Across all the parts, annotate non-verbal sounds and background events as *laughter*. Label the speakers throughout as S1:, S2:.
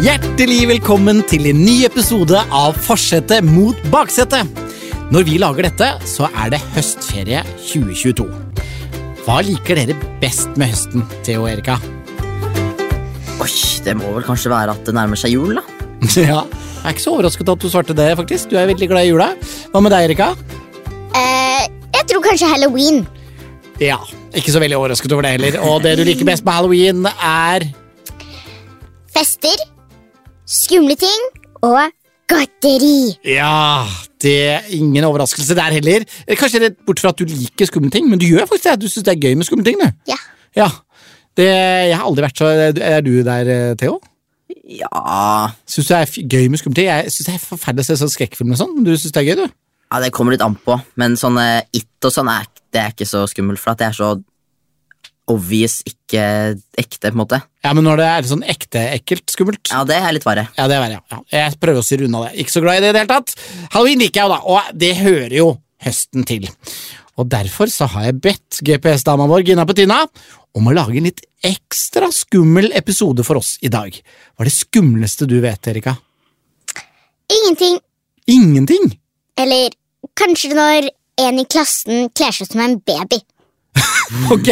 S1: Hjertelig velkommen til en ny episode av Forsetet mot baksetet. Når vi lager dette, så er det høstferie 2022. Hva liker dere best med høsten, Theo og Erika?
S2: Oi, det må vel kanskje være at det nærmer seg jul, da.
S1: *laughs* Ja, Jeg er ikke så overrasket at du svarte det, faktisk. Du er veldig glad i jula. Hva med deg, Erika?
S3: Eh, jeg tror kanskje halloween.
S1: Ja, ikke så veldig overrasket over det heller. Og det du liker best med halloween, er
S3: Fester, skumle ting og godteri.
S1: Ja, det er ingen overraskelse der heller. Eh, Kanskje rett bort fra at du liker skumle ting, men du gjør faktisk det. Du syns det er gøy med skumle ting, du.
S3: Ja.
S1: Ja. Det, jeg har aldri vært så Er du der, eh, Theo?
S2: Ja
S1: Syns du det er f- gøy med skumle ting? Jeg syns det er forferdelig å se sånn skrekkfilm og sånn. men Du syns det er gøy, du?
S2: Ja, det kommer litt an på, men sånn eh, It og sånn er, det er ikke så skummelt, for at det er så obvious ikke ekte, på en måte.
S1: Ja, men når det er sånn ekte ekkelt skummelt
S2: Ja, det er litt verre.
S1: Ja, det er verre, ja. ja. Jeg prøver å styre unna det. Ikke så glad i det i det hele tatt. Halloween liker jeg jo, da, og det hører jo høsten til. Og derfor så har jeg bedt GPS-dama vår, Gina Petina, om å lage en litt ekstra skummel episode for oss i dag. Hva er det skumleste du vet, Erika?
S3: Ingenting.
S1: Ingenting!
S3: Eller kanskje når en i klassen kler seg ut som en baby.
S1: Ok!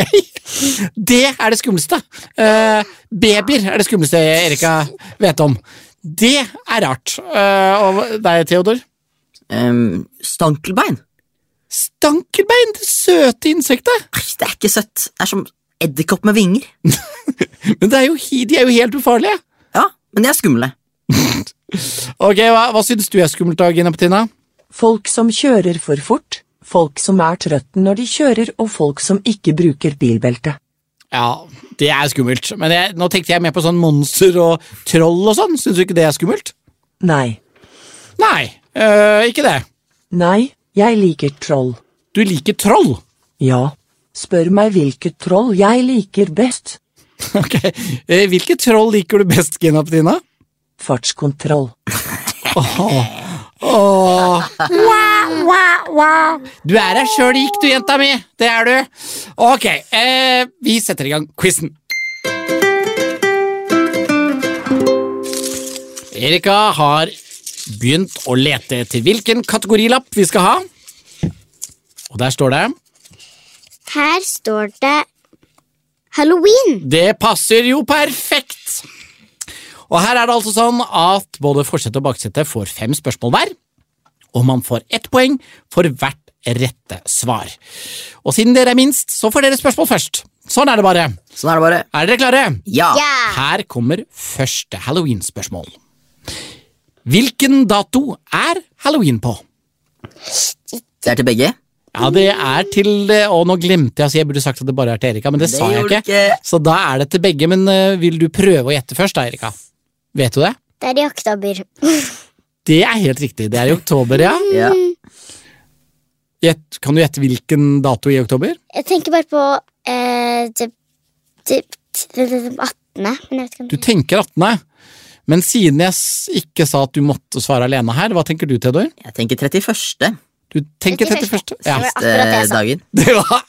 S1: Det er det skumleste. Eh, babyer er det skumleste Erika vet om. Det er rart. Eh, og deg, Theodor?
S2: Um, stankelbein?
S1: Stankelbein, det søte insektet!
S2: Nei, det er ikke søtt. Det er som edderkopp med vinger.
S1: Men det er jo, hi- de er jo helt ufarlige.
S2: Ja, men de er skumle.
S1: Ok, Hva, hva syns du er skummelt, da, Gina Petina?
S4: Folk som kjører for fort, folk som er trøtte når de kjører og folk som ikke bruker bilbelte.
S1: Ja, det er skummelt. Men jeg, nå tenkte jeg mer på sånn monster og troll og sånn. Syns du ikke det er skummelt?
S4: Nei,
S1: Nei, øh, ikke det.
S4: nei, jeg liker troll.
S1: Du liker troll. *laughs*
S4: Ja, spør meg hvilket troll jeg liker best.
S1: Ok, eh, Hvilke troll liker du best, Gina Petina?
S4: Fartskontroll.
S1: Åh. Wah, wah, wah. Du er her sjøl gikk, du, jenta mi. Det er du. Ok, eh, vi setter i gang quizen. Erika har begynt å lete etter hvilken kategorilapp vi skal ha. Og der står det
S3: Her står det halloween.
S1: Det passer jo perfekt! Og her er det altså sånn at både forsete og baksete får fem spørsmål hver, og man får ett poeng for hvert rette svar. Og siden dere er minst, så får dere spørsmål først. Sånn er det bare.
S2: Sånn er det bare.
S1: Er dere klare?
S2: Ja.
S3: Ja.
S1: Her kommer første halloween-spørsmål. Hvilken dato er halloween på?
S2: Det er til begge.
S1: Ja, det er til Og nå glemte jeg å si jeg burde sagt at det bare er til Erika, men det,
S2: Det
S1: sa jeg
S2: gjorde
S1: ikke.
S2: du ikke.
S1: Så da er det til begge, men eh, vil du prøve å gjette først da, Erika? Vet du det?
S3: Det er i oktober.
S1: Det er helt riktig. Det er i oktober, ja.
S2: Ja.
S3: Mm.
S1: Gjett- kan du gjette hvilken dato i oktober?
S3: Jeg tenker bare på eh, det, det, det, det, det 18. Men jeg vet ikke om
S1: Du tenker 18., men siden jeg s- ikke sa at du måtte svare alene her, hva tenker du, Theodor?
S2: Jeg tenker 31.
S1: Du tenker 31.
S3: 31..
S1: Ja.
S3: Det var akkurat det altså.
S2: eh,
S3: jeg sa.
S2: dagen.
S1: *laughs* Det var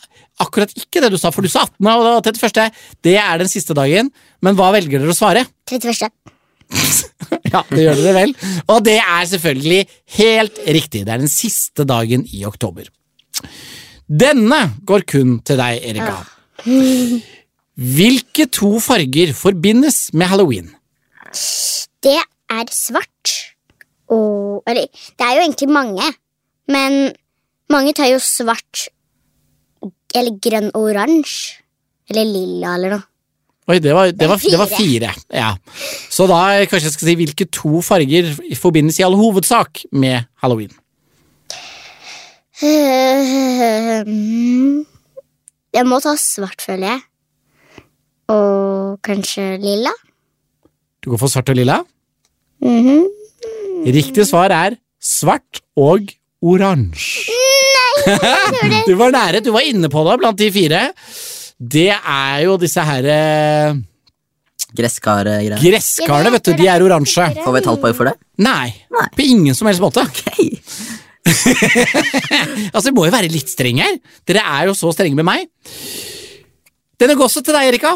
S1: akkurat ikke det du sa, for du sa 18., og det var 31. Det er den siste dagen, men hva velger dere å svare?
S3: 31.
S1: Ja, det gjør dere vel. Og det er selvfølgelig helt riktig. Det er den siste dagen i oktober. Denne går kun til deg, Erika. Hvilke to farger forbindes med halloween?
S3: Det er svart og Eller det er jo egentlig mange, men mange tar jo svart eller grønn og oransje. Eller lilla eller noe.
S1: Oi, det var, det var, det var
S3: Fire.
S1: fire. Ja. Så da kanskje jeg skal si hvilke to farger forbindes i all hovedsak med halloween.
S3: Hmm. Jeg må ta svart, føler jeg. Og kanskje lilla?
S1: Du går for svart og lilla? Riktig svar er svart og oransje. *laughs* Nei, du var nære. Du var inne på det blant de fire. Det er jo disse her eh,
S2: Gresskargreier.
S1: gresskarene, vet du. De er oransje.
S2: eh, Får vi et halvt poeng for det?
S1: Nei, på ingen som helst måte.
S2: Ok.
S1: Altså, Vi må jo være litt strenge her. Dere er jo så strenge med meg. Denne går også til deg, Erika.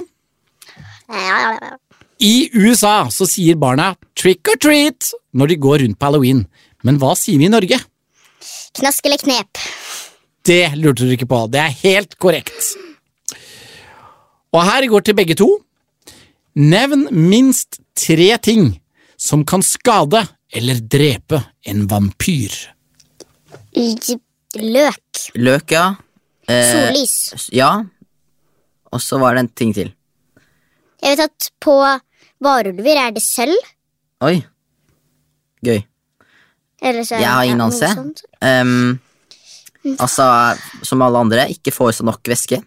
S3: Ja, ja, ja.
S1: I USA så sier barna trick or treat når de går rundt på halloween, men hva sier vi i Norge?
S3: Knask eller knep.
S1: Det lurte du ikke på. Det er helt korrekt. Og her går til begge to. Nevn minst tre ting som kan skade eller drepe en vampyr.
S3: L- Løk.
S2: Løk, ja.
S3: Sollys.
S2: S- Ja. Og så var det en ting til.
S3: Jeg vet at på varulver er det sølv.
S2: Oi. Gøy.
S3: Eller så er
S2: Jeg har
S3: det
S2: ingen
S3: noe
S2: anelse.
S3: sånt. Mm.
S2: Ehm, altså, som alle andre, ikke får i seg nok væske.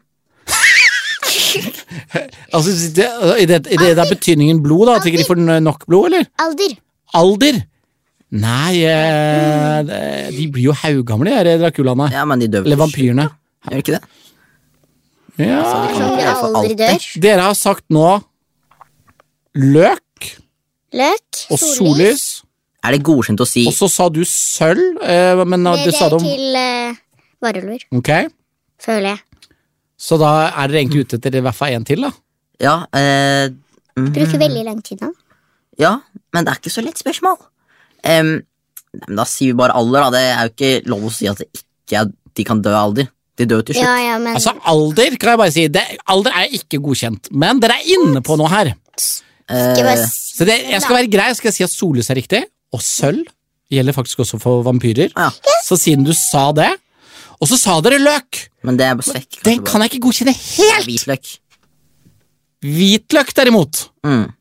S1: Altså, det, i det, i det, det er betydningen blod, da? At ikke de får n- nok blod, eller?
S3: Alder.
S1: Alder? Nei, eh, det- de blir jo haugamle, de her draculaene.
S2: Ja, men de dør
S1: Eller vampyrene.
S2: Gjør de ikke det?
S1: Ja.
S3: Som
S2: i
S3: du
S2: hvert fall
S3: aldri dør.
S1: Dere har sagt nå løk
S3: Løk.
S1: og sollys,
S2: Er det godkjent å si
S1: og så sa du sølv, eh, men
S3: Det,
S1: eh, du
S3: det
S1: sa
S3: er
S1: det om
S3: til eh, varulver,
S1: Ok,
S3: føler jeg.
S1: så da er dere egentlig ute etter i hvert fall én til, da?
S2: Ja, eh, mhm.
S1: Mm.
S3: Bruker veldig lang tid nå.
S2: ja, men det er ikke så lett spørsmål. Ehm, nei, men da sier vi bare alder, da. Det er jo ikke lov å si at det ikke er, de kan dø av alder. De dør jo til
S3: Ja,
S2: slutt.
S3: ja, men
S1: Altså, alder kan jeg bare si. Det, alder er ikke godkjent, men dere er inne på noe her.
S3: ikke
S2: Eh,
S3: bare
S1: eh, Så det, jeg skal være grei, skal jeg si at sollys er riktig, og sølv gjelder faktisk også for vampyrer.
S2: Ja.
S1: Så siden du sa det, og så sa dere løk,
S2: Men det er bare svekk.
S1: den kan jeg ikke godkjenne helt!
S2: Hvitløk.
S1: Hvitløk derimot,
S2: Mm.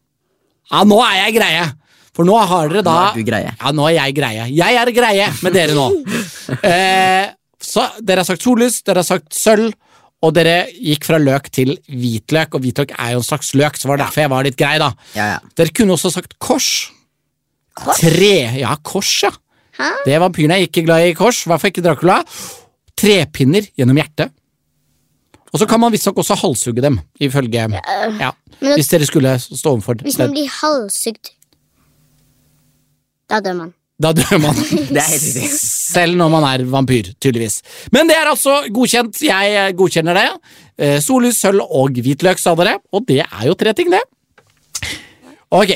S1: ja, nå er jeg greie. For nå har dere da
S2: Nå er du greie.
S1: Ja, nå er jeg greie. Jeg er greie med dere nå. eh, så dere har sagt sollys, dere har sagt sølv, og dere gikk fra løk til hvitløk, og hvitløk er jo en slags løk, så var det derfor jeg var litt grei, da.
S2: Ja, ja.
S1: Dere kunne også sagt kors. Tre, ja, kors, ja. Det Vampyrene er ikke glad i kors, i hvert fall ikke Dracula. Trepinner gjennom hjertet. Og så kan man visstnok også halshugge dem, ifølge ja,
S3: Men-
S1: Hvis dere skulle stå overfor
S3: Hvis man blir halshugd, da dør man.
S1: Da dør man.
S2: *laughs* Det er helt riktig.
S1: Selv når man er vampyr, tydeligvis. Men det er altså godkjent. Jeg eh, godkjenner det. Eh, Sollys, sølv og hvitløk, sa dere. Og det er jo tre ting, det. Ok.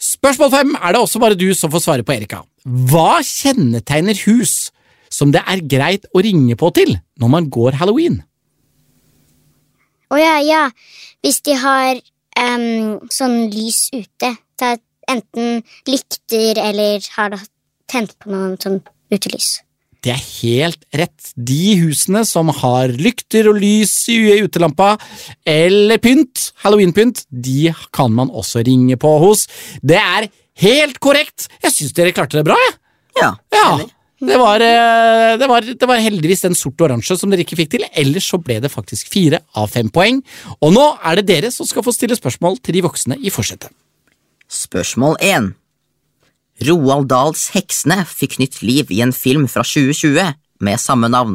S1: Spørsmål fem er det også bare du som får svare på, Erika. Hva kjennetegner hus som det er greit å ringe på til når man går halloween?
S3: Å ja, ja. Hvis de har em, sånn lys ute, da enten lykter eller har da tent på noen sånn utelys.
S1: Det er helt rett. De husene som har lykter og lys i utelampa, eller pynt, halloweenpynt, de kan man også ringe på hos. Det er helt korrekt! Jeg syns dere klarte det bra, jeg.
S2: Ja.
S1: Ja. Det var, eh, det, var, det var heldigvis den sorte og oransje som dere ikke fikk til, ellers så ble det faktisk fire av fem poeng. Og nå er det dere som skal få stille spørsmål til de voksne i forsetet.
S2: Spørsmål 1. Roald Dahls Heksene fikk nytt liv i en film fra 2020 med samme navn.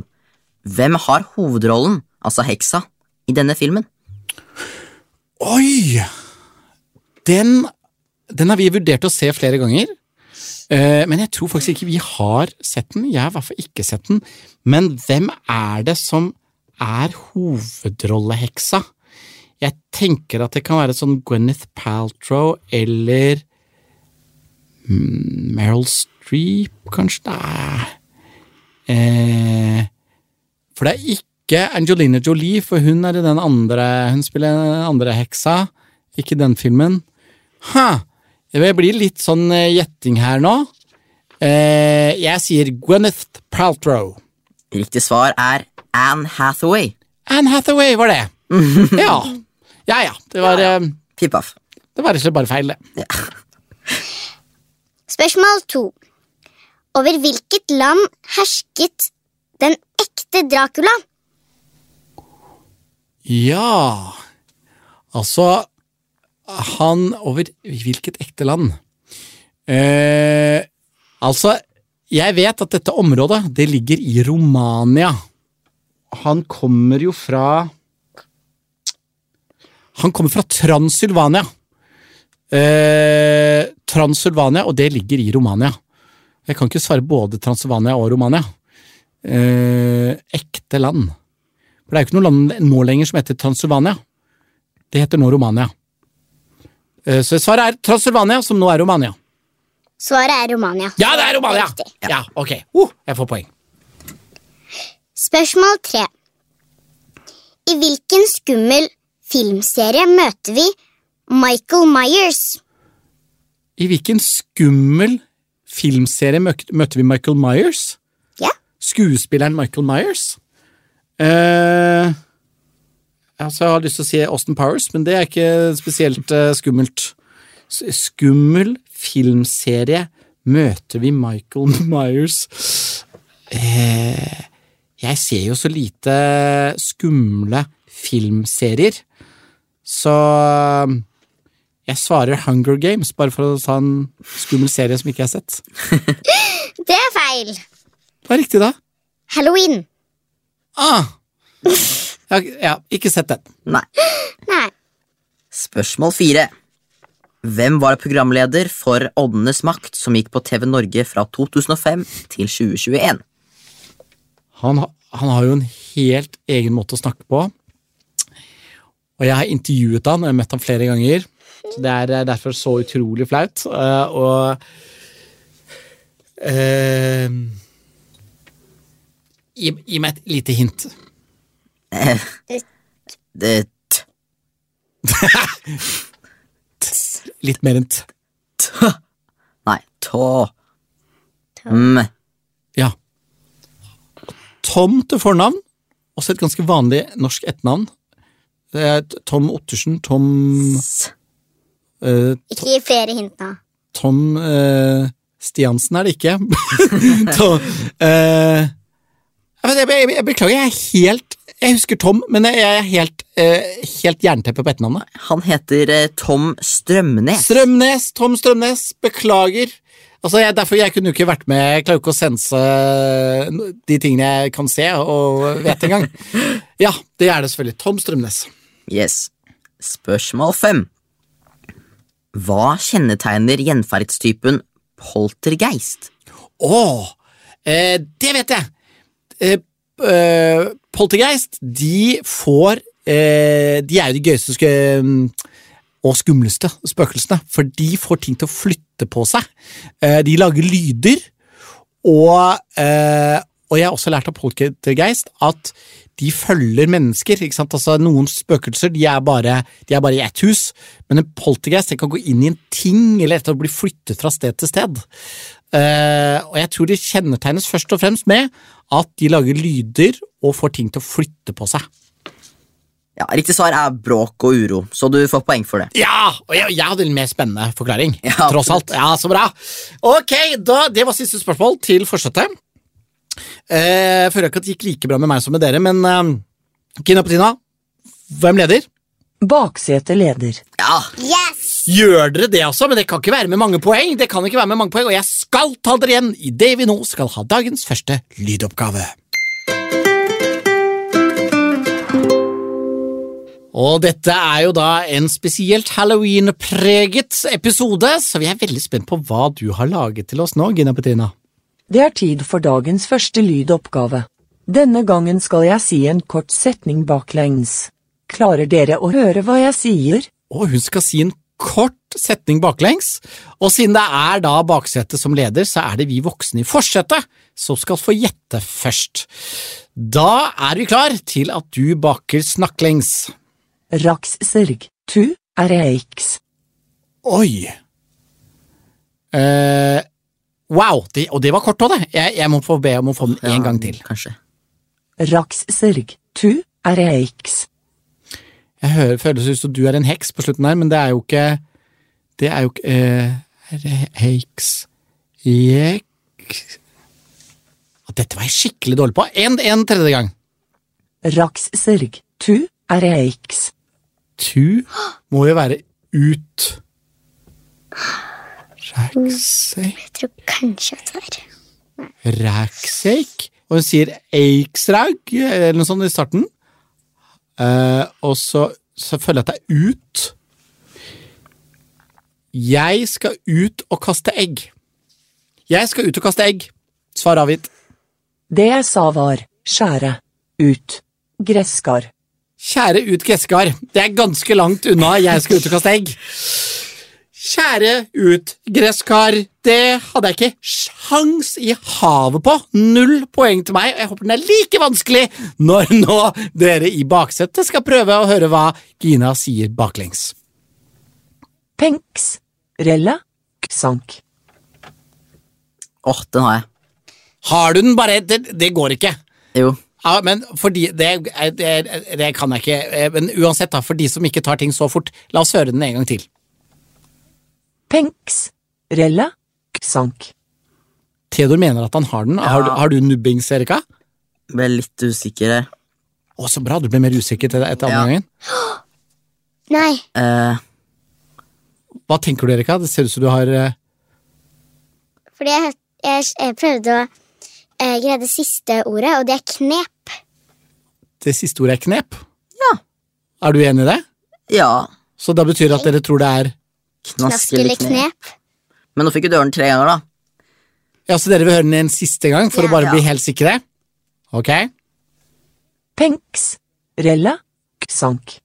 S2: Hvem har hovedrollen, altså heksa, i denne filmen?
S1: Oi! Den, den har vi vurdert å se flere ganger. Eh, men jeg tror faktisk ikke vi har sett den. Jeg har i hvert fall ikke sett den. Men hvem er det som er hovedrolleheksa? Jeg tenker at det kan være sånn Gwyneth Paltrow eller mm, Meryl Streep, kanskje? Nei. Eh, for det er ikke Angelina Jolie, for hun er i den andre Hun spiller den andre heksa. Ikke den filmen. Ha! Jeg blir litt sånn eh, gjetting her nå. Eh, jeg sier Gwyneth Paltrow.
S2: Riktig svar er Anne Hathaway.
S1: Anne Hathaway var *laughs* det. Ja. Ja ja. Det var, eh,
S2: Pipaff.
S1: det var rett og slett bare feil, det.
S3: Spørsmål to. Over hvilket land hersket den ekte Dracula?
S1: Ja Altså Han over hvilket ekte land? Eh, altså, jeg vet at dette området, det ligger i Romania. Han kommer jo fra Han kommer fra Transylvania. Eh, Transylvania, og det ligger i Romania. Jeg kan ikke svare både Transylvania og Romania. Eh, ekte land. For det er jo ikke noe land nå lenger som heter Transylvania. Det heter nå Romania. Eh, Så svaret er Transylvania, som nå er Romania.
S3: Svaret er Romania.
S1: Ja, det er Romania!
S3: Riktig.
S1: Ja, ok. Uh, jeg får poeng.
S3: Spørsmål tre. I hvilken skummel filmserie møter vi Michael Myers?
S1: I hvilken skummel filmserie møk- møtte vi Michael Myers?
S3: Ja.
S1: Skuespilleren Michael Myers? Eh, altså, jeg har lyst til å si Austin Powers, men det er ikke spesielt eh, skummelt. S- Skummel filmserie møter vi Michael *laughs* Myers. Eh, jeg ser jo så lite skumle filmserier, så jeg svarer Hunger Games, bare for å ta en skummel serie som ikke jeg har sett.
S3: Det er feil.
S1: Hva er riktig, da?
S3: Halloween.
S1: Ah. Jeg har ikke- ja, ikke sett den.
S2: Nei.
S3: Nei.
S2: Spørsmål fire. Hvem var programleder for Åndenes makt, som gikk på TV Norge fra 2005 til 2021?
S1: Han, ha- han har jo en helt egen måte å snakke på. Og jeg har intervjuet han, og jeg har møtt han flere ganger. Så Det er eh, derfor så utrolig flaut. eh, Og eh, gi, gi meg et lite hint.
S2: Det t...
S1: Litt mer enn t.
S2: t... Nei, tå... Mm,
S1: Ja. Tom til fornavn, også et ganske vanlig norsk etternavn. Det er t- Tom Ottersen, Tom
S2: s...
S1: eh,
S3: Ikke gi flere hint nå.
S1: Tom eh, Stiansen er det ikke. *laughs* Tom, eh, jeg, jeg, jeg, jeg beklager, jeg er helt Jeg husker Tom, men jeg, jeg er helt, eh, helt jernteppe på etternavnet.
S2: Han heter eh, Tom Strømnes.
S1: Strømnes, Tom Strømnes, beklager. Altså, jeg, derfor jeg kunne jo ikke vært med. Jeg klarer jo ikke å sense no- de tingene jeg kan se og vet engang. Ja, det er det selvfølgelig. Tom Strømnes.
S2: Yes. Spørsmål fem. Hva kjennetegner gjenferdstypen poltergeist?
S1: Å, eh, det vet jeg! Eh, eh, Poltergeist, de får eh, De er jo de gøyeste sk og skumleste spøkelsene, for de får ting til å flytte på seg. Eh, de lager lyder, og, eh, og jeg har også lært av Poltergeist at de følger mennesker. ikke sant? Altså Noen spøkelser de er bare, de er bare i ett hus, men en poltergeist den kan gå inn i en ting eller etter å bli flyttet fra sted til sted. Eh, og jeg tror de kjennetegnes først og fremst med at de lager lyder og får ting til å flytte på seg.
S2: Ja, Riktig svar er bråk og uro, så du får poeng for det.
S1: Ja! Og jeg, jeg hadde en mer spennende forklaring.
S2: Ja,
S1: tross alt. Ja, så bra. Ok, da, Det var siste spørsmål til forsetet. Eh, jeg føler ikke at det gikk like bra med meg som med dere, men eh, Kina Petina, hvem leder?
S4: Baksete leder.
S2: Ja,
S3: Yes!
S1: Gjør dere det, altså? Men det kan ikke være med mange poeng. Det kan ikke være med mange poeng, Og jeg skal ta dere igjen idet vi nå skal ha dagens første lydoppgave. Og dette er jo da en spesielt halloween-preget episode, så vi er veldig spent på hva du har laget til oss nå, Gina Petrina.
S4: Det er tid for dagens første lydoppgave. Denne gangen skal jeg si en kort setning baklengs. Klarer dere å høre hva jeg sier?
S1: Og hun skal si en kort setning baklengs. Og siden det er da baksetet som leder, så er det vi voksne i forsetet som skal få gjette først. Da er vi klar til at du baker snakklengs.
S4: Rakserg, tu, er eiks.
S1: Oi! Eh, wow, det, og det var kort òg, det. Jeg, jeg må få be om å få den en gang til.
S2: kanskje.
S4: Rakserg, tu, er eiks.
S1: Jeg hører, føles ut som du er en heks på slutten her, men det er jo ikke Det er jo ikke uh, Heks Jeks Dette var jeg skikkelig dårlig på. En, en tredje gang.
S4: Rakserg, tu, er eiks.
S1: Tu må jo være ut. Ræksek
S3: Jeg tror kanskje at det er
S1: Ræksek. Og hun sier eiksræg, eller noe sånt i starten. Eh, og så, så føler jeg at det er ut. Jeg skal ut og kaste egg. Jeg skal ut og kaste egg. Svar avgitt.
S4: Det jeg sa var, skjære, ut, gresskar.
S1: Kjære ut gresskar, det er ganske langt unna jeg skal ut og kaste egg. Kjære utgresskar, det hadde jeg ikke sjans i havet på. Null poeng til meg, og jeg håper den er like vanskelig når nå dere i baksetet skal prøve å høre hva Gina sier baklengs.
S4: Penks. Rella. Ksank.
S2: Åh, den har jeg.
S1: Har du den bare Det, det går ikke.
S2: Jo.
S1: Ja, men fordi det, det, det kan jeg ikke. Eh, Men uansett, da, for de som ikke tar ting så fort, la oss høre den en gang til.
S4: Penks. Rella. Ksank.
S1: Theodor mener at han har den. Har, du- har du nubbings, Erika?
S2: Ble litt usikker her.
S1: Å, så bra. Du ble mer usikker til etter andre
S2: Ja.
S1: gangen.
S3: Nei.
S2: Eh,
S1: Hva tenker du, Erika? Det ser ut som du har eh,
S3: Fordi jeg, jeg, jeg prøvde å eh, greie det siste ordet, og det er knep.
S1: Det siste ordet er knep.
S2: Ja.
S1: Er du enig i det?
S2: ja.
S1: Så da betyr det at dere tror det er
S2: Knask
S3: Knask
S2: eller
S3: eller
S2: kne.
S3: knep.
S2: Men nå fikk jo døren tre ganger, da.
S1: Ja, så dere vil høre den en siste gang for
S3: Ja.
S1: å bare
S2: Ja.
S1: bli helt sikre? Ok?
S4: Penks. Rella. Ksank.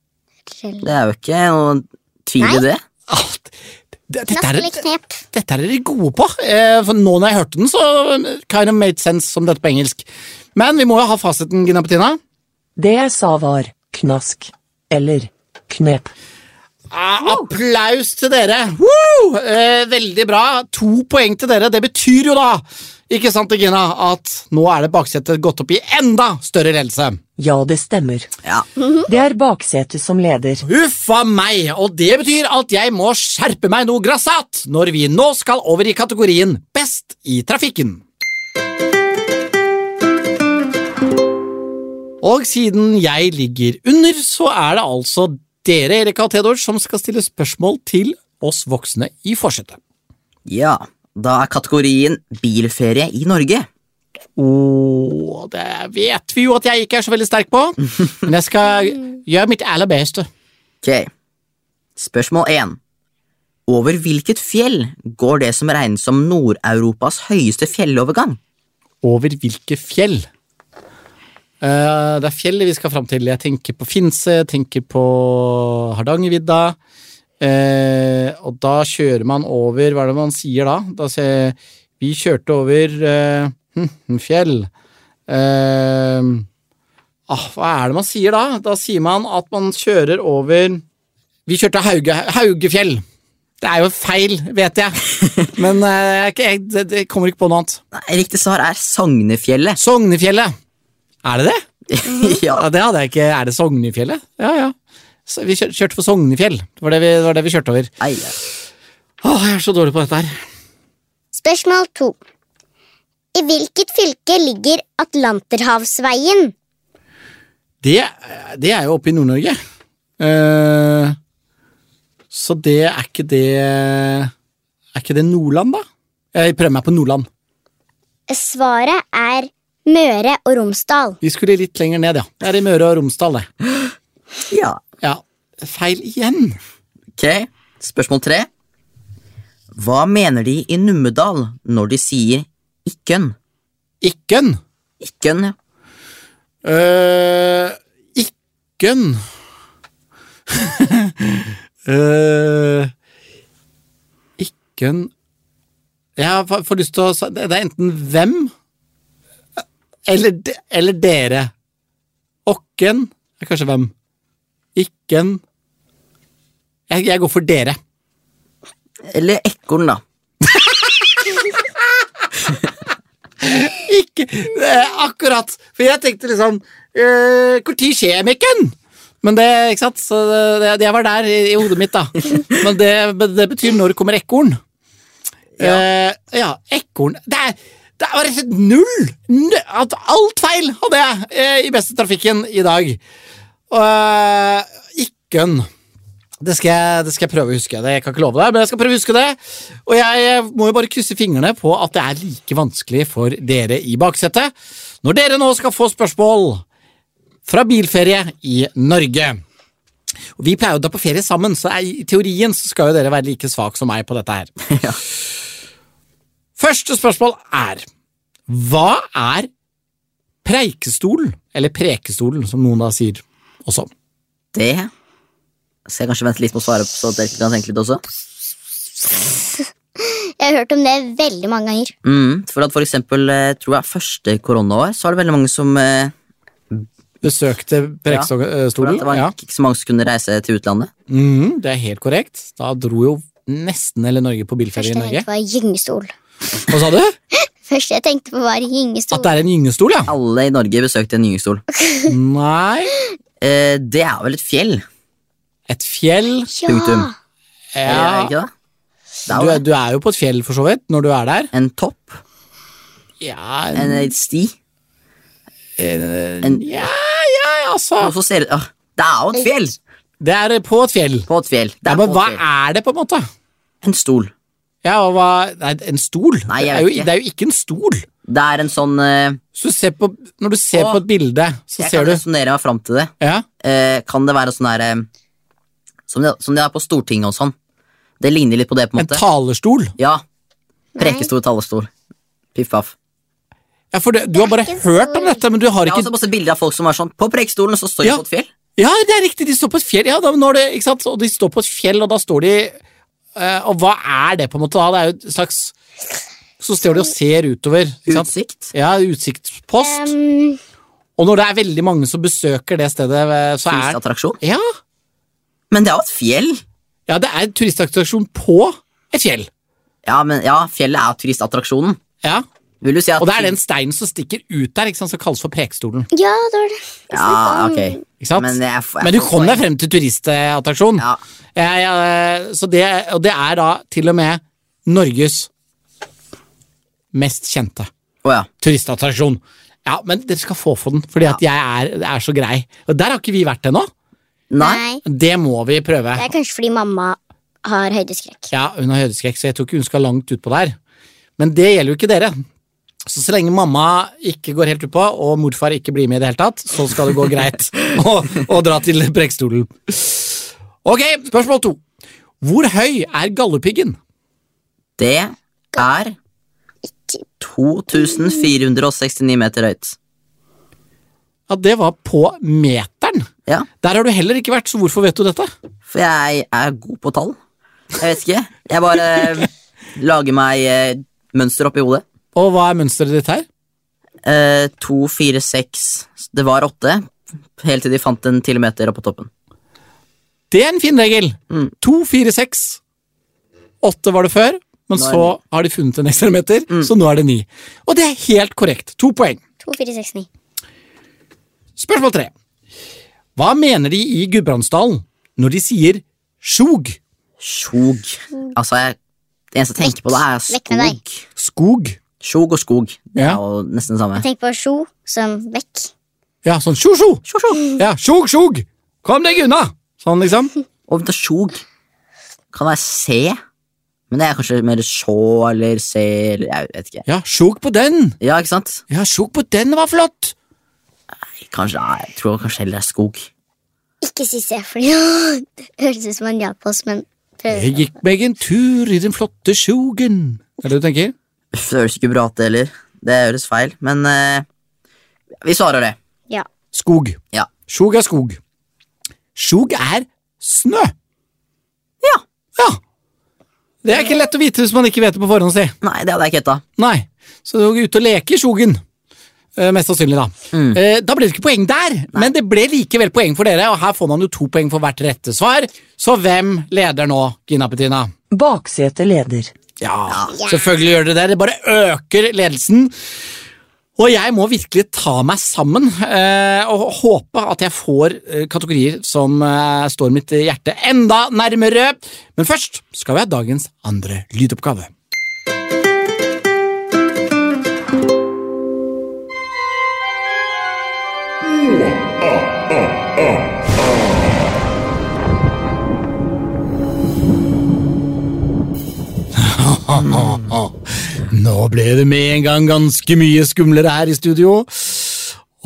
S3: Knask
S2: Det er jo ikke noen tvil i det.
S1: Alt. Det- Dette er,
S3: eller knep.
S1: dette er dere gode på. Eh, For nå når jeg hørte den, så eh, kind of made sense som dette på engelsk. Men vi må jo ha fasiten, Gina Petina.
S4: Det jeg sa var knask. Eller knep.
S1: Ah, applaus til dere! Woo! Eh, veldig bra. To poeng til dere. Det betyr jo da, ikke sant, Gina, at nå er det baksetet gått opp i enda større ledelse.
S4: Ja, det stemmer.
S3: *laughs*
S2: Ja.
S4: Det er baksetet som leder.
S1: Huffa meg, og det betyr at jeg må skjerpe meg noe grassat når vi nå skal over i kategorien Best i trafikken. Og siden jeg ligger under, så er det altså dere, Erika og Theodor, som skal stille spørsmål til oss voksne i forsetet.
S2: ja. Da er kategorien bilferie i Norge.
S1: Åh, det vet vi jo at jeg ikke er så veldig sterk på, men jeg skal gjøre mitt aller beste.
S2: Ok. Spørsmål 1. Over hvilket fjell går det som regnes som Nord-Europas høyeste fjellovergang?
S1: over hvilke fjell. Eh, det er fjellet vi skal fram til. Jeg tenker på Finse, jeg tenker på Hardangervidda. Eh, og da kjører man over Hva er det man sier da? da se, vi kjørte over eh, hm, hm, fjell. Eh, ah, hva er det man sier da? Da sier man at man kjører over Vi kjørte Hauge, Haugefjell. Det er jo feil, vet jeg. Men eh, jeg, jeg, det, det kommer ikke på noe annet.
S2: Nei, Riktig svar er Sognefjellet.
S1: Sognefjellet. Er det det?
S2: *laughs* ja.
S1: Ja, det hadde jeg ikke. Er det Sognefjellet? Ja, ja. Så vi kjør, kjørte for Sognefjell. Det var det vi, det var det vi kjørte over.
S2: Ei,
S1: Åh, jeg er så dårlig på dette her.
S3: Spørsmål to. I hvilket fylke ligger Atlanterhavsveien?
S1: Det, det er jo oppe i Nord-Norge. Eh, så det er ikke det Er ikke det Nordland, da? Jeg prøver meg på Nordland.
S3: Svaret er Møre og Romsdal.
S1: Vi skulle litt lenger ned, ja. Det er i Møre og Romsdal, det.
S2: ja.
S1: Ja. Feil igjen.
S2: Ok, spørsmål 3. Hva mener de i Numedal når de sier Ikkønn?
S1: Ikkønn.
S2: Ikkønn, ja.
S1: Eh, Ikkønn *laughs* Eh, Ikkønn Jeg har- får lyst til å sa- Det er enten hvem eller, de, eller dere. Okken er kanskje hvem. Ikken jeg, jeg går for dere.
S2: Eller Ekorn, da.
S1: Ikke eh, Akkurat! For jeg tenkte liksom eh, Kortikjemikken! Men det, ikke sant? Så det, det var der i, i hodet mitt, da. Men det, men det betyr når kommer ekorn. Eh, ja, ekorn Det er det var rett og slett null! N- At alt feil hadde jeg eh, i Beste trafikken i dag. Uh, Ikkønn. Det skal, jeg, det skal jeg prøve å huske. det, Jeg kan ikke love det, men jeg skal prøve å huske det. Og jeg må jo bare krysse fingrene på at det er like vanskelig for dere i baksetet når dere nå skal få spørsmål fra bilferie i Norge. Og Vi pleier jo å dra på ferie sammen, så er- i teorien så skal jo dere være like svak som meg på dette her.
S2: *laughs* Ja.
S1: Første spørsmål er Hva er preikestolen, eller prekestolen som noen da sier også?
S2: Det skal jeg kanskje vente litt på å svare, på, så dere kan tenke litt også.
S3: Jeg har hørt om det veldig mange ganger.
S2: Mm, for at for eksempel, eh, tror jeg første koronaår, så var det veldig mange som eh,
S1: Besøkte
S2: for
S1: Preikestolen.
S2: at Det var
S1: Ja.
S2: ikke så mange som kunne reise til utlandet.
S1: Mhm, det er helt korrekt. Da dro jo nesten hele Norge på bilferie
S3: Første
S1: i
S3: jeg tenkte
S1: Norge.
S3: på var gyngestol.
S1: Hva
S2: *laughs*
S1: sa du?
S3: Første jeg tenkte på var gyngestol.
S1: At det er en gyngestol, ja?
S2: Alle i Norge besøkte en gyngestol.
S1: Nei.
S2: Eh, det er vel et fjell?
S1: Et fjell.
S3: Ja.
S2: Punktum. Er det
S1: Ja.
S2: ikke det? det er
S1: Du,
S2: jo
S1: er, du er jo på et fjell, for så vidt, når du er der.
S2: En topp?
S1: Ja,
S2: En eh, sti?
S1: en, ja, ja altså
S2: Og så ser det ah, Det er jo et fjell!
S1: Det er på et fjell.
S2: På et fjell. Det
S1: Ja,
S2: er
S1: men
S2: på
S1: hva
S2: et fjell.
S1: er det, på en måte?
S2: En stol.
S1: Ja, og hva, nei, En stol?
S2: Nei,
S1: det,
S2: jeg
S1: er jo,
S2: vet ikke.
S1: det er jo ikke en stol.
S2: Det er en sånn eh,
S1: Så du ser på, når du ser
S2: Å,
S1: på et bilde, så
S2: Jeg kan
S1: ser du
S2: resonnere meg fram til det.
S1: ja.
S2: Eh, kan det være sånn her eh, som, det, som det er på Stortinget og sånn. Det ligner litt på det, på en
S1: En
S2: måte.
S1: talerstol.
S2: ja. Prekestor talerstol. Piff paff.
S1: Ja, for det, Du har bare
S3: ikke en
S1: hørt om
S3: stol.
S1: dette, men du har
S2: Jeg har
S1: ikke
S2: også masse bilder av folk som altså, er sånn På prekestolen så står de
S1: Ja.
S2: på et fjell.
S1: Ja, det er riktig, de står på et fjell. Ja, da, nå er det, ikke sant? Og de står på et fjell, og da står de eh, Og hva er det, på en måte? da? Det er jo et slags Så står de og ser utover. Ikke sant?
S2: Utsikt.
S1: Ja, utsiktspost.
S3: Um,
S1: og når det er veldig mange som besøker det stedet, eh, så er
S2: Turistattraksjon.
S1: ja,
S2: Men det er jo et fjell.
S1: ja, det er turistattraksjon på et fjell.
S2: Ja, men ja, fjellet er turistattraksjonen.
S1: Ja,
S2: Vil du si at
S1: Og det er den steinen som stikker ut der, ikke sant, som kalles for Prekestolen.
S3: ja, det var det.
S2: Ja, ok.
S1: Ikke sant?
S2: Men,
S1: Men,
S2: jeg, jeg,
S1: du kom deg frem til turistattraksjon.
S2: Ja.
S1: Ja, ja, så det, og det er da til og med Norges mest kjente
S2: Å ja.
S1: turistattraksjon. Ja, men dere skal få for den, fordi at jeg er, er så grei. Og der har ikke vi vært ennå.
S2: Nei.
S3: Nei.
S1: Det må vi prøve.
S3: Det er kanskje fordi mamma har høydeskrekk.
S1: Ja, hun har høydeskrekk, så jeg tror ikke hun skal langt utpå der. Men det gjelder jo ikke dere. Så så lenge mamma ikke går helt utpå, og morfar ikke blir med i det hele tatt, så skal det gå greit *laughs* å, å dra til Preikestolen. Ok, spørsmål to. Hvor høy er gallepiggen?
S2: Det er 2469 meter høyt.
S1: Ja, det var på meteren.
S2: Ja,
S1: Der har du heller ikke vært, så hvorfor vet du dette?
S2: for jeg er god på tall. Jeg vet ikke. Jeg bare eh, lager meg eh, mønster oppi hodet.
S1: Og hva er mønsteret ditt her?
S2: Eh, to, fire, seks Det var åtte. Helt til de fant en kilometer opp på toppen.
S1: Det er en fin regel.
S2: Mm.
S1: To, fire, seks. Åtte var det før, men
S2: Nå er Mm.
S1: så har de funnet en ekstra meter, så nå er det ni. Og det er helt korrekt. To poeng.
S3: 2469.
S1: Spørsmål tre. Hva mener de i Gudbrandsdalen når de sier sjog?
S2: Skog. Altså, jeg, det eneste jeg tenker på, det er
S3: Vekk med deg.
S2: skog.
S1: Skog?
S2: Skog og skog. Det
S1: Ja.
S2: er jo nesten det samme.
S3: Tenk på sjo som vekk.
S1: Ja, sånn sjo-sjo. Ja, sjog, sjog. Kom deg unna! Sånn, liksom.
S2: Og vent, sjog kan være se, men det er kanskje mer sjå eller se eller jeg vet ikke.
S1: Ja, sjog på den.
S2: Ja, ikke sant?
S1: Ja, sjog på den var flott.
S2: Kanskje, nei, jeg tror kanskje heller det er skog.
S3: Ikke si se, fordi *laughs* det høres ut som han hjalp oss, men prøv.
S1: Jeg gikk meg en tur i den flotte sjogen. Er det det du tenker?
S2: Uff, det høres ikke bra ut, det heller. Det høres feil, men eh, vi svarer det.
S3: Ja.
S1: Skog.
S2: Ja.
S1: Skog er skog. Skog er snø.
S2: Ja.
S1: Ja. Det er ikke lett å vite hvis man ikke vet det på forhånd. Si.
S2: Nei, det hadde jeg ikke gjetta.
S1: Nei. Så du er ute og leker i skogen. Eh, mest sannsynlig, da. Eh, da ble det ikke poeng der, men det ble likevel poeng for dere. Og her får man jo to poeng for hvert rette svar. Så hvem leder nå, Gina Petina?
S4: Baksete leder.
S1: Ja, selvfølgelig gjør det det. Det bare øker ledelsen. Og jeg må virkelig ta meg sammen eh, og håpe at jeg får eh, kategorier som eh, står mitt hjerte enda nærmere. Men først skal vi ha dagens andre lydoppgave. Ah. Nå ble det med en gang ganske mye skumlere her i studio.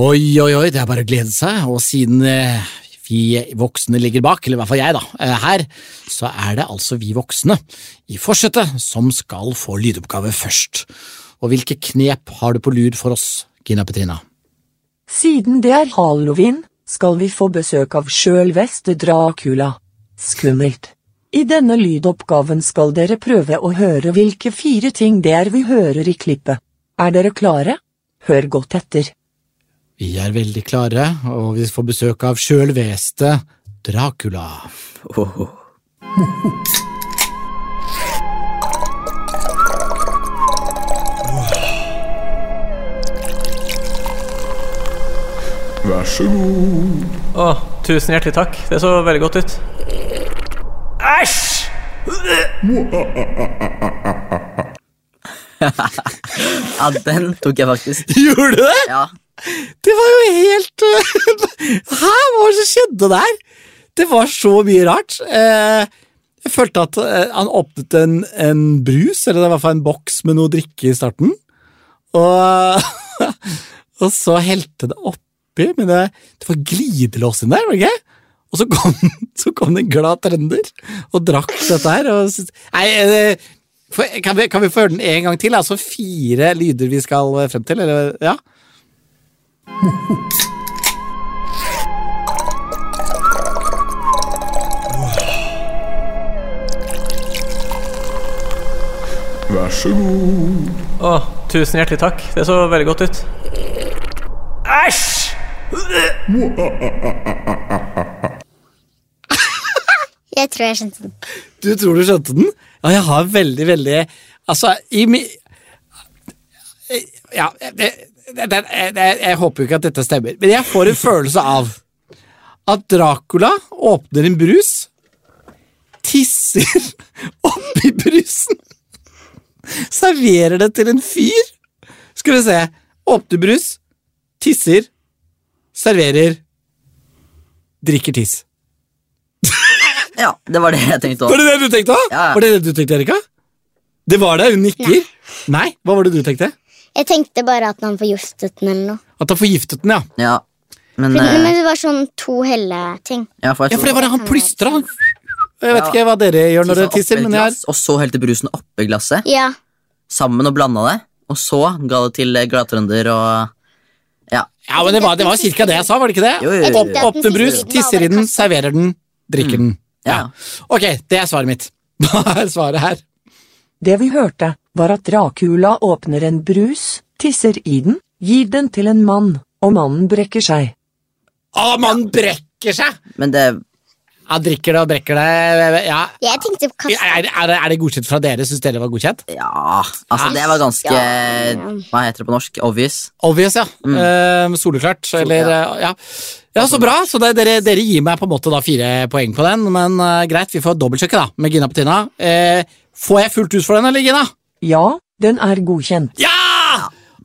S1: Oi, oi, oi, det er bare å glede seg, og siden eh, vi voksne ligger bak, eller i hvert fall jeg da, eh, her, så er det altså vi voksne i forsetet som skal få lydoppgave først. Og hvilke knep har du på lur for oss, Gina Petrina?
S4: Siden det er halloween, skal vi få besøk av sjølveste Dracula. Skummelt. I denne lydoppgaven skal dere prøve å høre hvilke fire ting det er vi hører i klippet. Er dere klare? Hør godt etter.
S1: Vi er veldig klare, og vi får besøk av sjølveste Dracula.
S2: Åh,
S5: Vær så god.
S6: Å, tusen hjertelig takk. Det så veldig godt ut. Æsj!
S2: Ja, den *laughs* tok jeg faktisk.
S1: *laughs* Gjorde du det?!
S2: Ja,
S1: Det var jo helt eh, *laughs* Hæ, hva var det som skjedde der?! Det var så mye rart. Eh, Jeg følte at eh, han åpnet en, en brus, eller det var i hvert fall en boks med noe drikke i starten, og, *laughs* og så helte det oppi, men det, det var glidelås inni der, var det ikke? Og så kom, *laughs* så kom det en glad trønder og drakk dette her. Og syntes- nei, eh, får jeg- kan, vi, kan vi få høre den en gang til? Altså fire lyder vi skal eh, frem til, eller? Ja.
S5: Vær så god.
S6: Å, tusen hjertelig takk. Det så veldig godt ut. Æsj!
S3: Jeg tror jeg skjønte den.
S1: Du tror du skjønte den? Ja, jeg har veldig, veldig Altså, i mi... Ja, det, det, det, jeg, jeg håper jo ikke at dette stemmer, men jeg får en følelse av at Dracula åpner en brus, tisser *laughs* oppi brusen, serverer det til en fyr Skal vi se. Åpner brus, tisser, serverer, drikker tiss.
S2: ja det var det jeg tenkte
S1: Var
S2: òg.
S1: det det du tenkte? da?
S2: Ja, ja.
S1: Var det det du tenkte, Erika? Det var det, hun nikker. Nei. hva var det du tenkte?
S3: Jeg tenkte bare at han forgiftet den eller noe.
S1: At han forgiftet den, ja.
S2: Ja. Men
S3: Men,
S2: eh,
S3: men det var sånn to helle-ting.
S2: ja, for
S1: Ja,
S2: jeg
S1: for det
S2: tror
S1: var det han plystra. Han. Jeg vet
S2: Ja.
S1: ikke hva dere gjør når dere
S2: Tisset
S1: tisser,
S2: oppi
S1: men jeg
S2: glass, Og så helte brusen oppi glasset,
S3: Ja,
S2: sammen og blanda det. Og så ga det til eh, gladtrønder og Ja.
S1: Ja, men det var, det var cirka det jeg sa, var det ikke det?
S2: Jo, jo, jo, jo.
S1: Opp, opp den brus, tisser i den, serverer den, drikker den. Ja.
S2: Mm. Ja.
S1: Ok, det er svaret mitt. *laughs* Hva er svaret her?
S4: Det vi hørte, var at Dracula åpner en brus, tisser i den, gir den til en mann, og mannen brekker seg.
S1: Å, man brekker seg!
S2: Men det
S1: Ja, drikker det og brekker det. Ja.
S3: jeg tenkte på kasse.
S1: Er, er, er det godkjent fra dere? Syns dere det var godkjent?
S2: Ja, altså det var ganske Hva heter det på norsk? Obvious?
S1: Obvious, ja. Eh, soleklart. Eller,
S2: ja.
S1: eh, ja. ja, så bra. Så det, dere, dere gir meg på en måte da fire poeng på den, men eh, greit, vi får dobbeltsjekke da, med Gina Petina. Eh, får jeg fullt hus for den, eller, Gina?
S4: Ja, den er godkjent.
S1: Ja!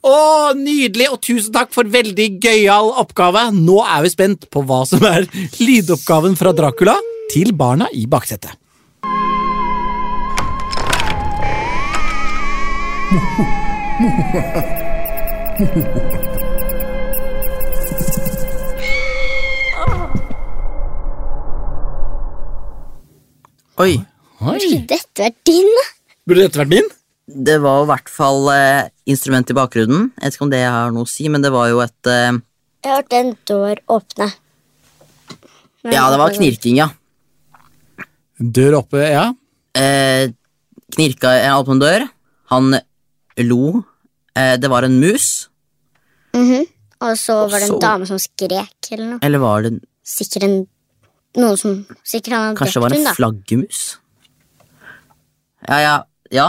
S1: Å, nydelig, og tusen takk for veldig gøyal oppgave. Nå er vi spent på hva som er lydoppgaven fra Dracula til barna i baksetet.
S2: Oi,
S1: Oi.
S3: Dette var din, da.
S1: Burde dette vært min?
S2: det var i hvert fall eh, instrument i bakgrunnen. Jeg vet ikke om det har noe å si, men det var jo et eh,
S3: Jeg har hørt en dør åpne. Men-
S2: Ja, det var knirking, ja.
S1: Dør oppe, ja.
S2: Eh, knirka eh, en åpen dør. Han lo. Eh, det var en mus.
S3: Og så var det en
S2: så-
S3: dame som skrek eller noe.
S2: Eller var det
S3: Sikkert en noen som Sikkert han hadde
S2: Kanskje det var
S3: drept
S2: en
S3: henne, da.
S2: flaggermus? Ja, ja. ja.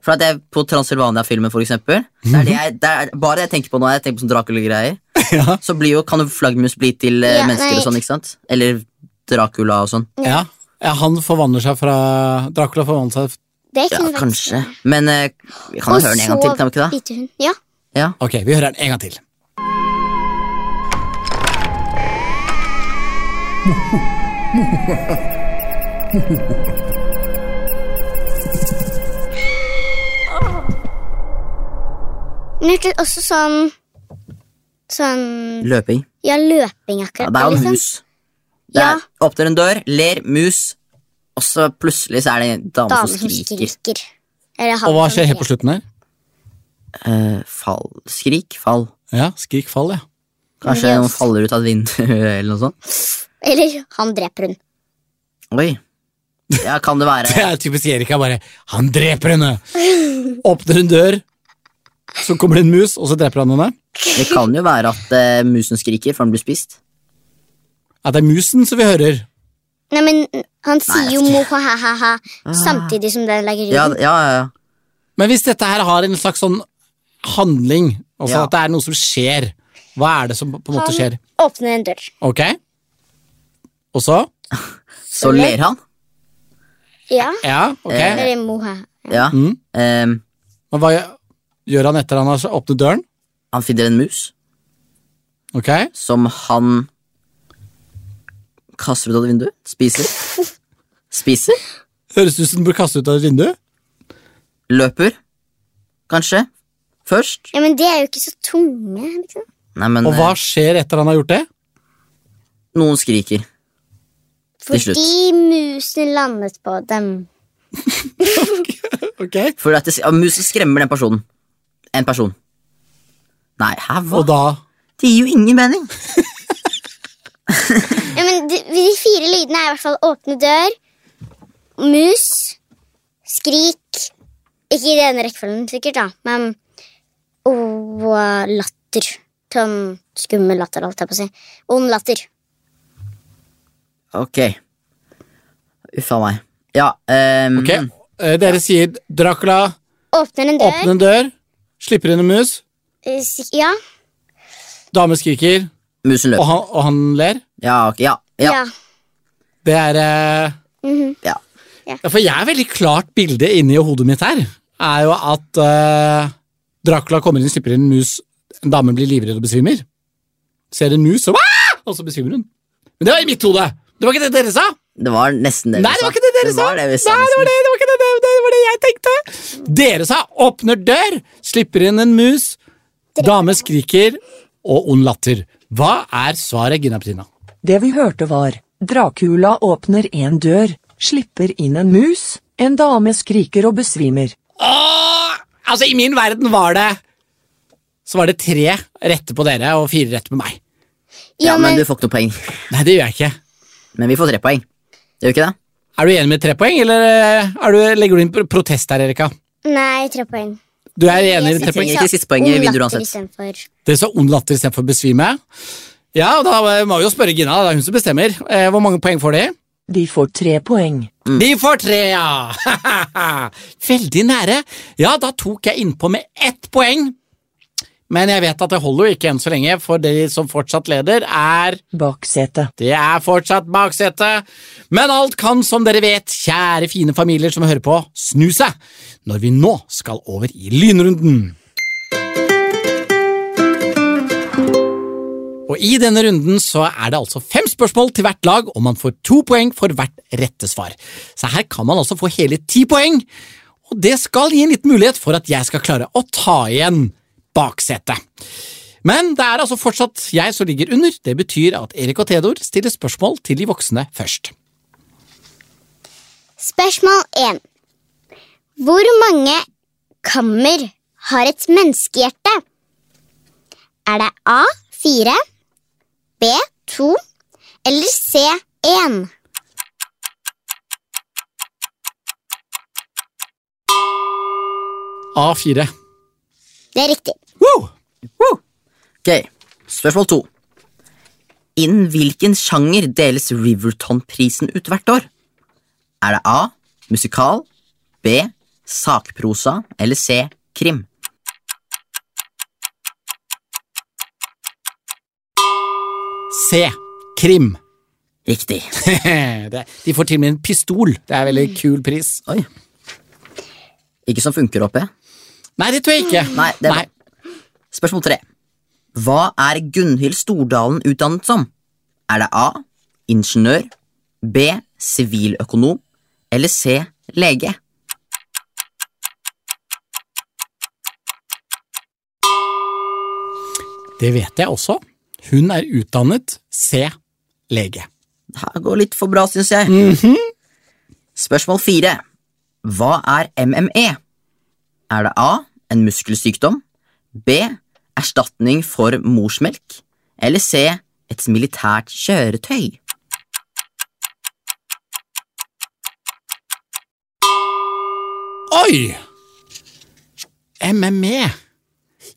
S2: For at jeg, på Transylvania-filmen, for eksempel det er det jeg, det er Bare det jeg tenker på nå, jeg tenker på sånn Dracula-greier,
S1: Ja.
S2: så blir jo, kan jo flaggermus bli til eh,
S3: Ja,
S2: mennesker
S3: nei.
S2: og sånn, ikke sant? Eller Dracula og sånn.
S1: Ja. ja. Han forvandler seg fra Dracula forvandler seg
S3: Det
S2: Ja,
S3: kunne vært-
S2: kanskje. Men eh, vi kan jo
S3: Og
S2: høre den en
S3: så
S2: gang til, kan vi ikke det?
S3: biter hun. Ja.
S2: Ja.
S1: Ok, vi hører den en gang til.
S3: Men jeg hørte også sånn Sånn
S2: Løping.
S3: Ja, løping
S2: Ja,
S3: akkurat.
S2: det er jo en
S3: liksom.
S2: mus. Det
S3: Ja.
S2: er, åpner en dør, ler, mus, og så plutselig så er det en dame,
S3: Dame
S2: som skriker.
S3: Eller han
S1: Og hva
S3: som
S1: skjer helt på slutten her?
S2: Eh, fall. Skrik, fall.
S1: Ja, skrik fall, ja.
S2: Kanskje
S3: Ja,
S2: noen *laughs* faller ut av et vindu, eller noe sånt.
S3: Eller han dreper hun.
S2: Oi. Ja, kan det
S1: Det *laughs*
S2: være
S1: er typisk Erik er bare Han dreper henne! Åpner en dør, så kommer det en mus, og så dreper han henne.
S2: Det kan jo være at eh, musen skriker før den blir spist.
S1: Ja, det er musen som vi hører.
S3: Nei, men han
S2: Nei,
S3: sier
S2: jeg
S3: jo
S2: vet ikke. Ah.
S3: mo-ha-ha-ha samtidig som den lager
S2: Ja,
S1: Mm.
S3: lyden.
S2: ja, ja.
S1: Men hvis dette her har en slags sånn handling, altså
S2: Ja.
S1: at det er noe som skjer, hva er det som på en måte skjer?
S3: Han åpner en dør.
S1: Ok? Og så?
S2: Så ler han.
S3: Ja.
S1: Ja, ok.
S2: Eh.
S3: Eller mo-ha.
S2: Ja.
S1: Mm.
S2: Ehm,
S1: Men hva gjør- gjør han etter han har åpnet døren?
S2: han finner en mus
S1: Ok?
S2: som han kaster ut av et vindu. Spiser. Spiser.
S1: Høres ut som den blir kastet ut av et vindu.
S2: Løper. Kanskje. Først.
S3: ja, men de er jo ikke så tunge, liksom.
S2: Nei, men
S1: Og hva
S2: eh,
S1: skjer etter han har gjort det?
S2: noen skriker. Til slutt.
S3: Fordi musen landet på dem.
S1: Ok?
S2: For at det, ja, musen skremmer den personen. En person. Nei, hæ, hva?
S1: Og da
S2: Det gir jo ingen mening.
S3: Ja, men de, de fire lydene er i hvert fall åpne dør, mus, skrik Ikke i den rekkefølgen, sikkert, da, men Og eh, latter. Sånn skummel latter, holdt jeg på å si. Ond latter.
S2: Ok. Uffa meg. Ja, ehm,
S1: Ok, eh, dere sier Dracula
S3: Åpner en dør.
S1: åpner en dør, slipper inn en mus,
S3: eh, sik- Ja.
S1: dame skriker,
S2: musen
S1: og
S2: løper.
S1: han, og han ler.
S2: Ja, ok, ja, ja,
S3: Ja.
S1: Det er eh,
S2: ja.
S1: Ja, for jeg er veldig klart bilde inni hodet mitt her. Er jo at eh, Dracula kommer inn, slipper inn en mus, en dame blir livredd og besvimer. Ser en mus, og, «Ah!» og så besvimer hun. Men det var i mitt hode! Det var ikke det dere sa!
S2: Det var nesten det
S1: Nei, det var ikke det dere sa!
S2: var det vi sa.
S1: Nei, det var det, det var
S2: nesten.
S1: ikke det, det, det var det jeg tenkte! Dere sa 'åpner dør', slipper inn en mus, dame skriker og ond latter. Hva er svaret, Gina Petrina?
S4: Det vi hørte var, Dracula åpner en dør, slipper inn en mus, en dame skriker og besvimer.
S1: Åh! Altså, i min verden var det Så var det tre rette på dere og fire rette på meg.
S2: Ja,
S3: ja,
S2: men
S3: men
S2: du får ikke noe poeng.
S1: Nei, det gjør jeg ikke.
S2: Men vi får tre poeng. Gjør vi ikke det?
S1: Er du enig med tre poeng, eller eh, er du, legger du inn pr- protest her, Erika?
S3: Nei, tre poeng.
S1: Du er enig i
S3: Jeg
S1: tre poeng?
S2: trenger ikke siste poenget i
S3: ond
S2: video
S3: latter
S2: uansett.
S3: istedenfor.
S1: Dere sa ond latter istedenfor besvime. Ja, og da eh, må vi jo spørre Gina. Det er hun som bestemmer. Eh, hvor mange poeng får de?
S4: De får tre poeng.
S1: De får tre, ja! *laughs* Veldig nære. Ja, da tok jeg innpå med ett poeng. Men jeg vet at det holder jo ikke enn så lenge, for de som fortsatt leder, er
S4: Baksete.
S1: Det er fortsatt baksetet, men alt kan, som dere vet, kjære fine familier som hører på, snu seg når vi nå skal over i lynrunden. Og I denne runden så er det altså fem spørsmål til hvert lag, og man får to poeng for hvert rette svar. Så her kan man altså få hele ti poeng, og det skal gi en liten mulighet for at jeg skal klare å ta igjen baksetet. Men det er altså fortsatt jeg som ligger under. Det betyr at Erik og Theodor stiller spørsmål til de voksne først.
S3: Spørsmål 1. Hvor mange kammer har et menneskehjerte? Er det A 4, B 2 eller C 1?
S1: A4.
S3: Det er riktig.
S1: Wow!
S2: Ok, spørsmål to. Innen hvilken sjanger deles Riverton-prisen ut hvert år? Er det A. Musikal B. Sakprosa eller C. Krim?
S1: C. Krim. *laughs*
S2: Riktig.
S1: Det, de får til og med en pistol. Det er en veldig kul pris.
S2: Oi. Ikke som funker oppe.
S1: Nei, det tror jeg ikke.
S2: Nei, det er bra. Spørsmål tre. Hva er Gunhild Stordalen utdannet som? Er det A. Ingeniør B. Siviløkonom eller C. Lege?
S1: Det vet jeg også. Hun er utdannet C-lege.
S2: Det her går litt for bra, syns jeg.
S1: Mhm.
S2: Spørsmål fire. Hva er MME? Er det A. En muskelsykdom? B. Erstatning for morsmelk? Eller C. Et militært kjøretøy?
S1: Oi! MME.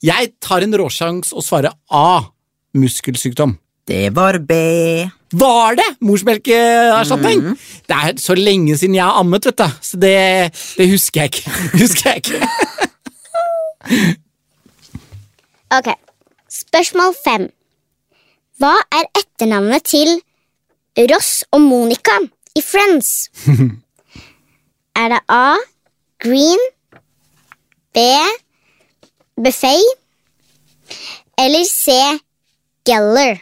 S1: Jeg tar en råsjans og svarer A. Muskelsykdom.
S2: Det var B.
S1: Var det morsmelkerstatning? Det er så lenge siden jeg har ammet, vet du. Så det, det husker jeg ikke. *laughs* Husker jeg ikke.
S3: Ok. Spørsmål fem. Hva er etternavnet til Ross og Monica i Friends? er det A. Green, B. Buffet eller C. Geller?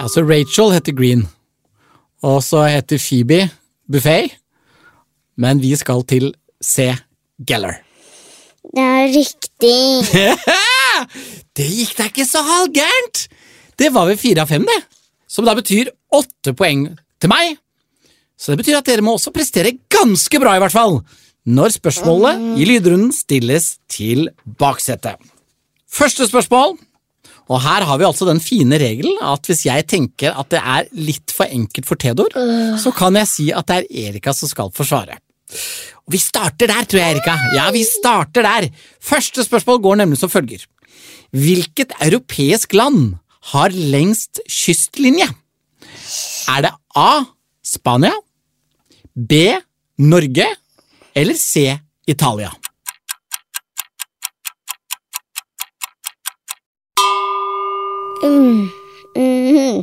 S1: Altså, Rachel heter Green, og så heter Phoebe Buffet, men vi skal til C. Geller.
S3: Det er riktig.
S1: *laughs* Det gikk da ikke så halvgærent! Det var vel fire av fem, det. Som da betyr åtte poeng til meg. Så det betyr at dere må også prestere ganske bra, i hvert fall, når spørsmålet i lydrunden stilles til baksetet. Første spørsmål. Og her har vi altså den fine regelen at hvis jeg tenker at det er litt for enkelt for Theodor, så kan jeg si at det er Erika som skal forsvare. Og vi starter der, tror jeg, Erika. Ja, vi starter der. Første spørsmål går nemlig som følger. Hvilket europeisk land har lengst kystlinje? Er det A. Spania, B. Norge eller C. Italia?
S3: Mm, Mhm.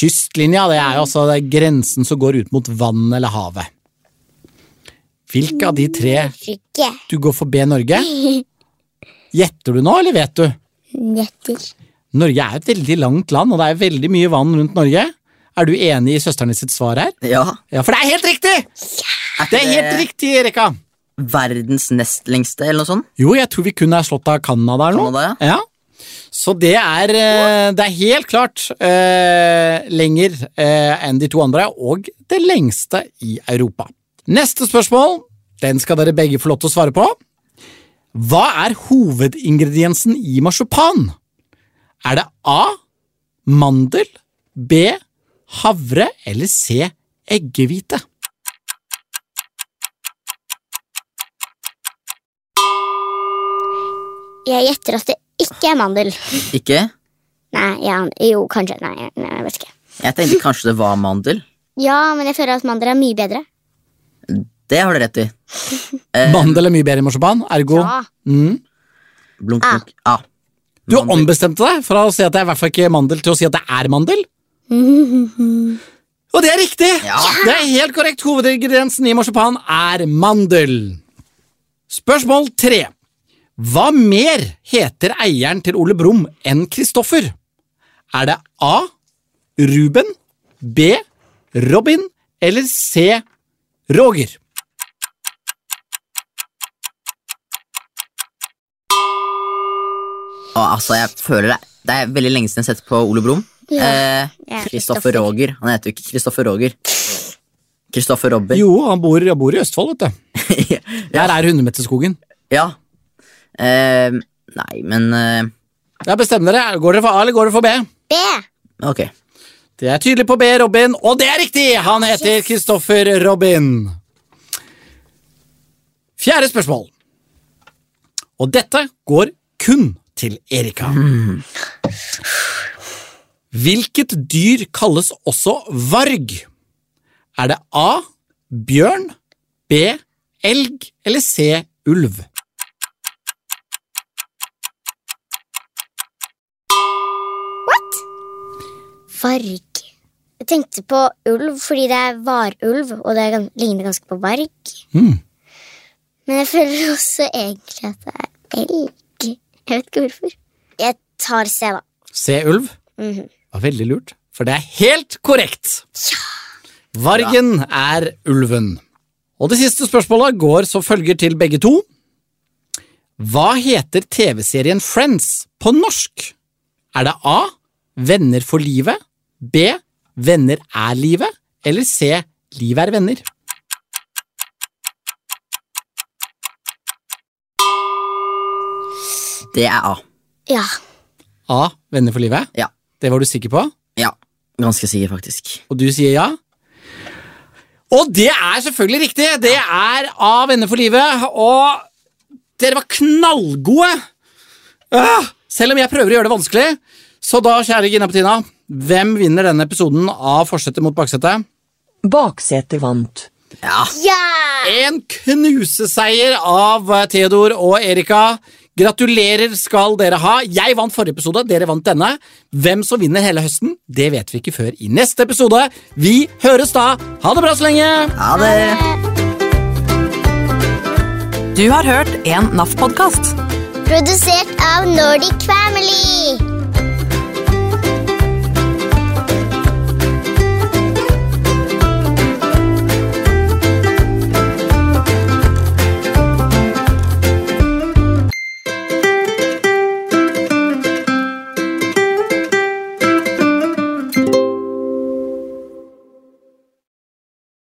S1: Kystlinja det er jo altså det er grensen som går ut mot vann eller havet. Hvilke av de tre
S3: Norge.
S1: du går for B Norge? Gjetter du nå, eller vet du?
S3: Netter.
S1: Norge er et veldig langt land, og det er veldig mye vann rundt Norge. Er du enig i søsteren sitt svar her?
S2: Ja.
S1: Ja, for det er helt riktig! Det er helt riktig, Erika.
S2: Verdens nest lengste, eller noe sånt.
S1: Jo, jeg tror vi kun er slått av Canada eller noe.
S2: Canada,
S1: ja. Så det er, eh, det er helt klart eh, lenger eh, enn de to andre, og det lengste i Europa. Neste spørsmål, den skal dere begge få lov til å svare på. Hva er hovedingrediensen i marsipan? Er det A. Mandel, B. Havre eller C. Eggehvite?
S3: Jeg gjetter at det ikke er mandel.
S2: Ikke?
S3: Nei, ja, jo, kanskje. Nei, nei, jeg vet ikke.
S2: Jeg tenkte kanskje det var mandel.
S3: Ja, men jeg føler at mandel er mye bedre.
S2: Det har du rett i.
S1: Mandel er mye bedre i marsipan, ergo
S3: Ja.
S1: mm.
S2: Blunk,
S3: Ah.
S2: blunk. Ah. A.
S1: Du ombestemte deg fra å si at det er i hvert fall ikke mandel, til å si at det er mandel. Og det er riktig!
S2: Ja.
S1: Det er helt korrekt. Hovedingrediensen i marsipan er mandel. Spørsmål tre. Hva mer heter eieren til Ole Brumm enn Kristoffer? Er det A. Ruben, B. Robin eller C. Roger?
S2: Og altså, jeg føler det, det er veldig lenge siden jeg har sett på Ole Brumm.
S3: Ja. Ja,
S2: Eh, Kristoffer Roger. Han heter jo ikke Kristoffer Roger. Kristoffer *laughs* Robber.
S1: Jo, han bor, han bor i Østfold, vet du. Der er Hundemeterskogen.
S2: ja. Eh, nei, men eh,
S1: Ja, Bestem dere. Går dere for A eller går dere for B?
S3: B.
S2: Ok.
S1: Det er tydelig på B, Robin, og det er riktig! Han heter Kristoffer Robin. Fjerde spørsmål. Og dette går kun til Erika. Hvilket dyr kalles også varg? Er det A. Bjørn, B. Elg eller C. Ulv?
S3: Varg. Jeg tenkte på ulv fordi det er varulv, og det er gan- ligner ganske på varg. Men jeg føler også egentlig at det er elg. Jeg vet ikke hvorfor. Jeg tar C, da.
S1: Se ulv. var veldig lurt, for det er helt korrekt. Vargen er ulven. Og det siste spørsmålet går som følger til begge to. Hva heter TV-serien Friends på norsk? Er det A. Venner for livet? B. Venner er livet? Eller C. Liv er venner?
S2: Det er A.
S3: Ja.
S1: A. Venner for livet?
S2: Ja.
S1: Det var du sikker på?
S2: Ja. Ganske sikker, faktisk.
S1: Og du sier ja? Og det er selvfølgelig riktig! Det er av Venner for livet, og dere var knallgode! Ah, selv om jeg prøver å gjøre det vanskelig. Så da, kjære Gina Petina, hvem vinner denne episoden av Forsetet mot baksetet?
S4: Baksetet vant.
S3: Ja!
S1: En knuseseier av eh, Theodor og Erika. Gratulerer skal dere ha. Jeg vant forrige episode, dere vant denne. Hvem som vinner hele høsten, det vet vi ikke før i neste episode. Vi høres da. Ha det bra så lenge!
S2: Ha det!
S7: Du har hørt en NAF-podkast.
S3: Produsert av Nordic Family.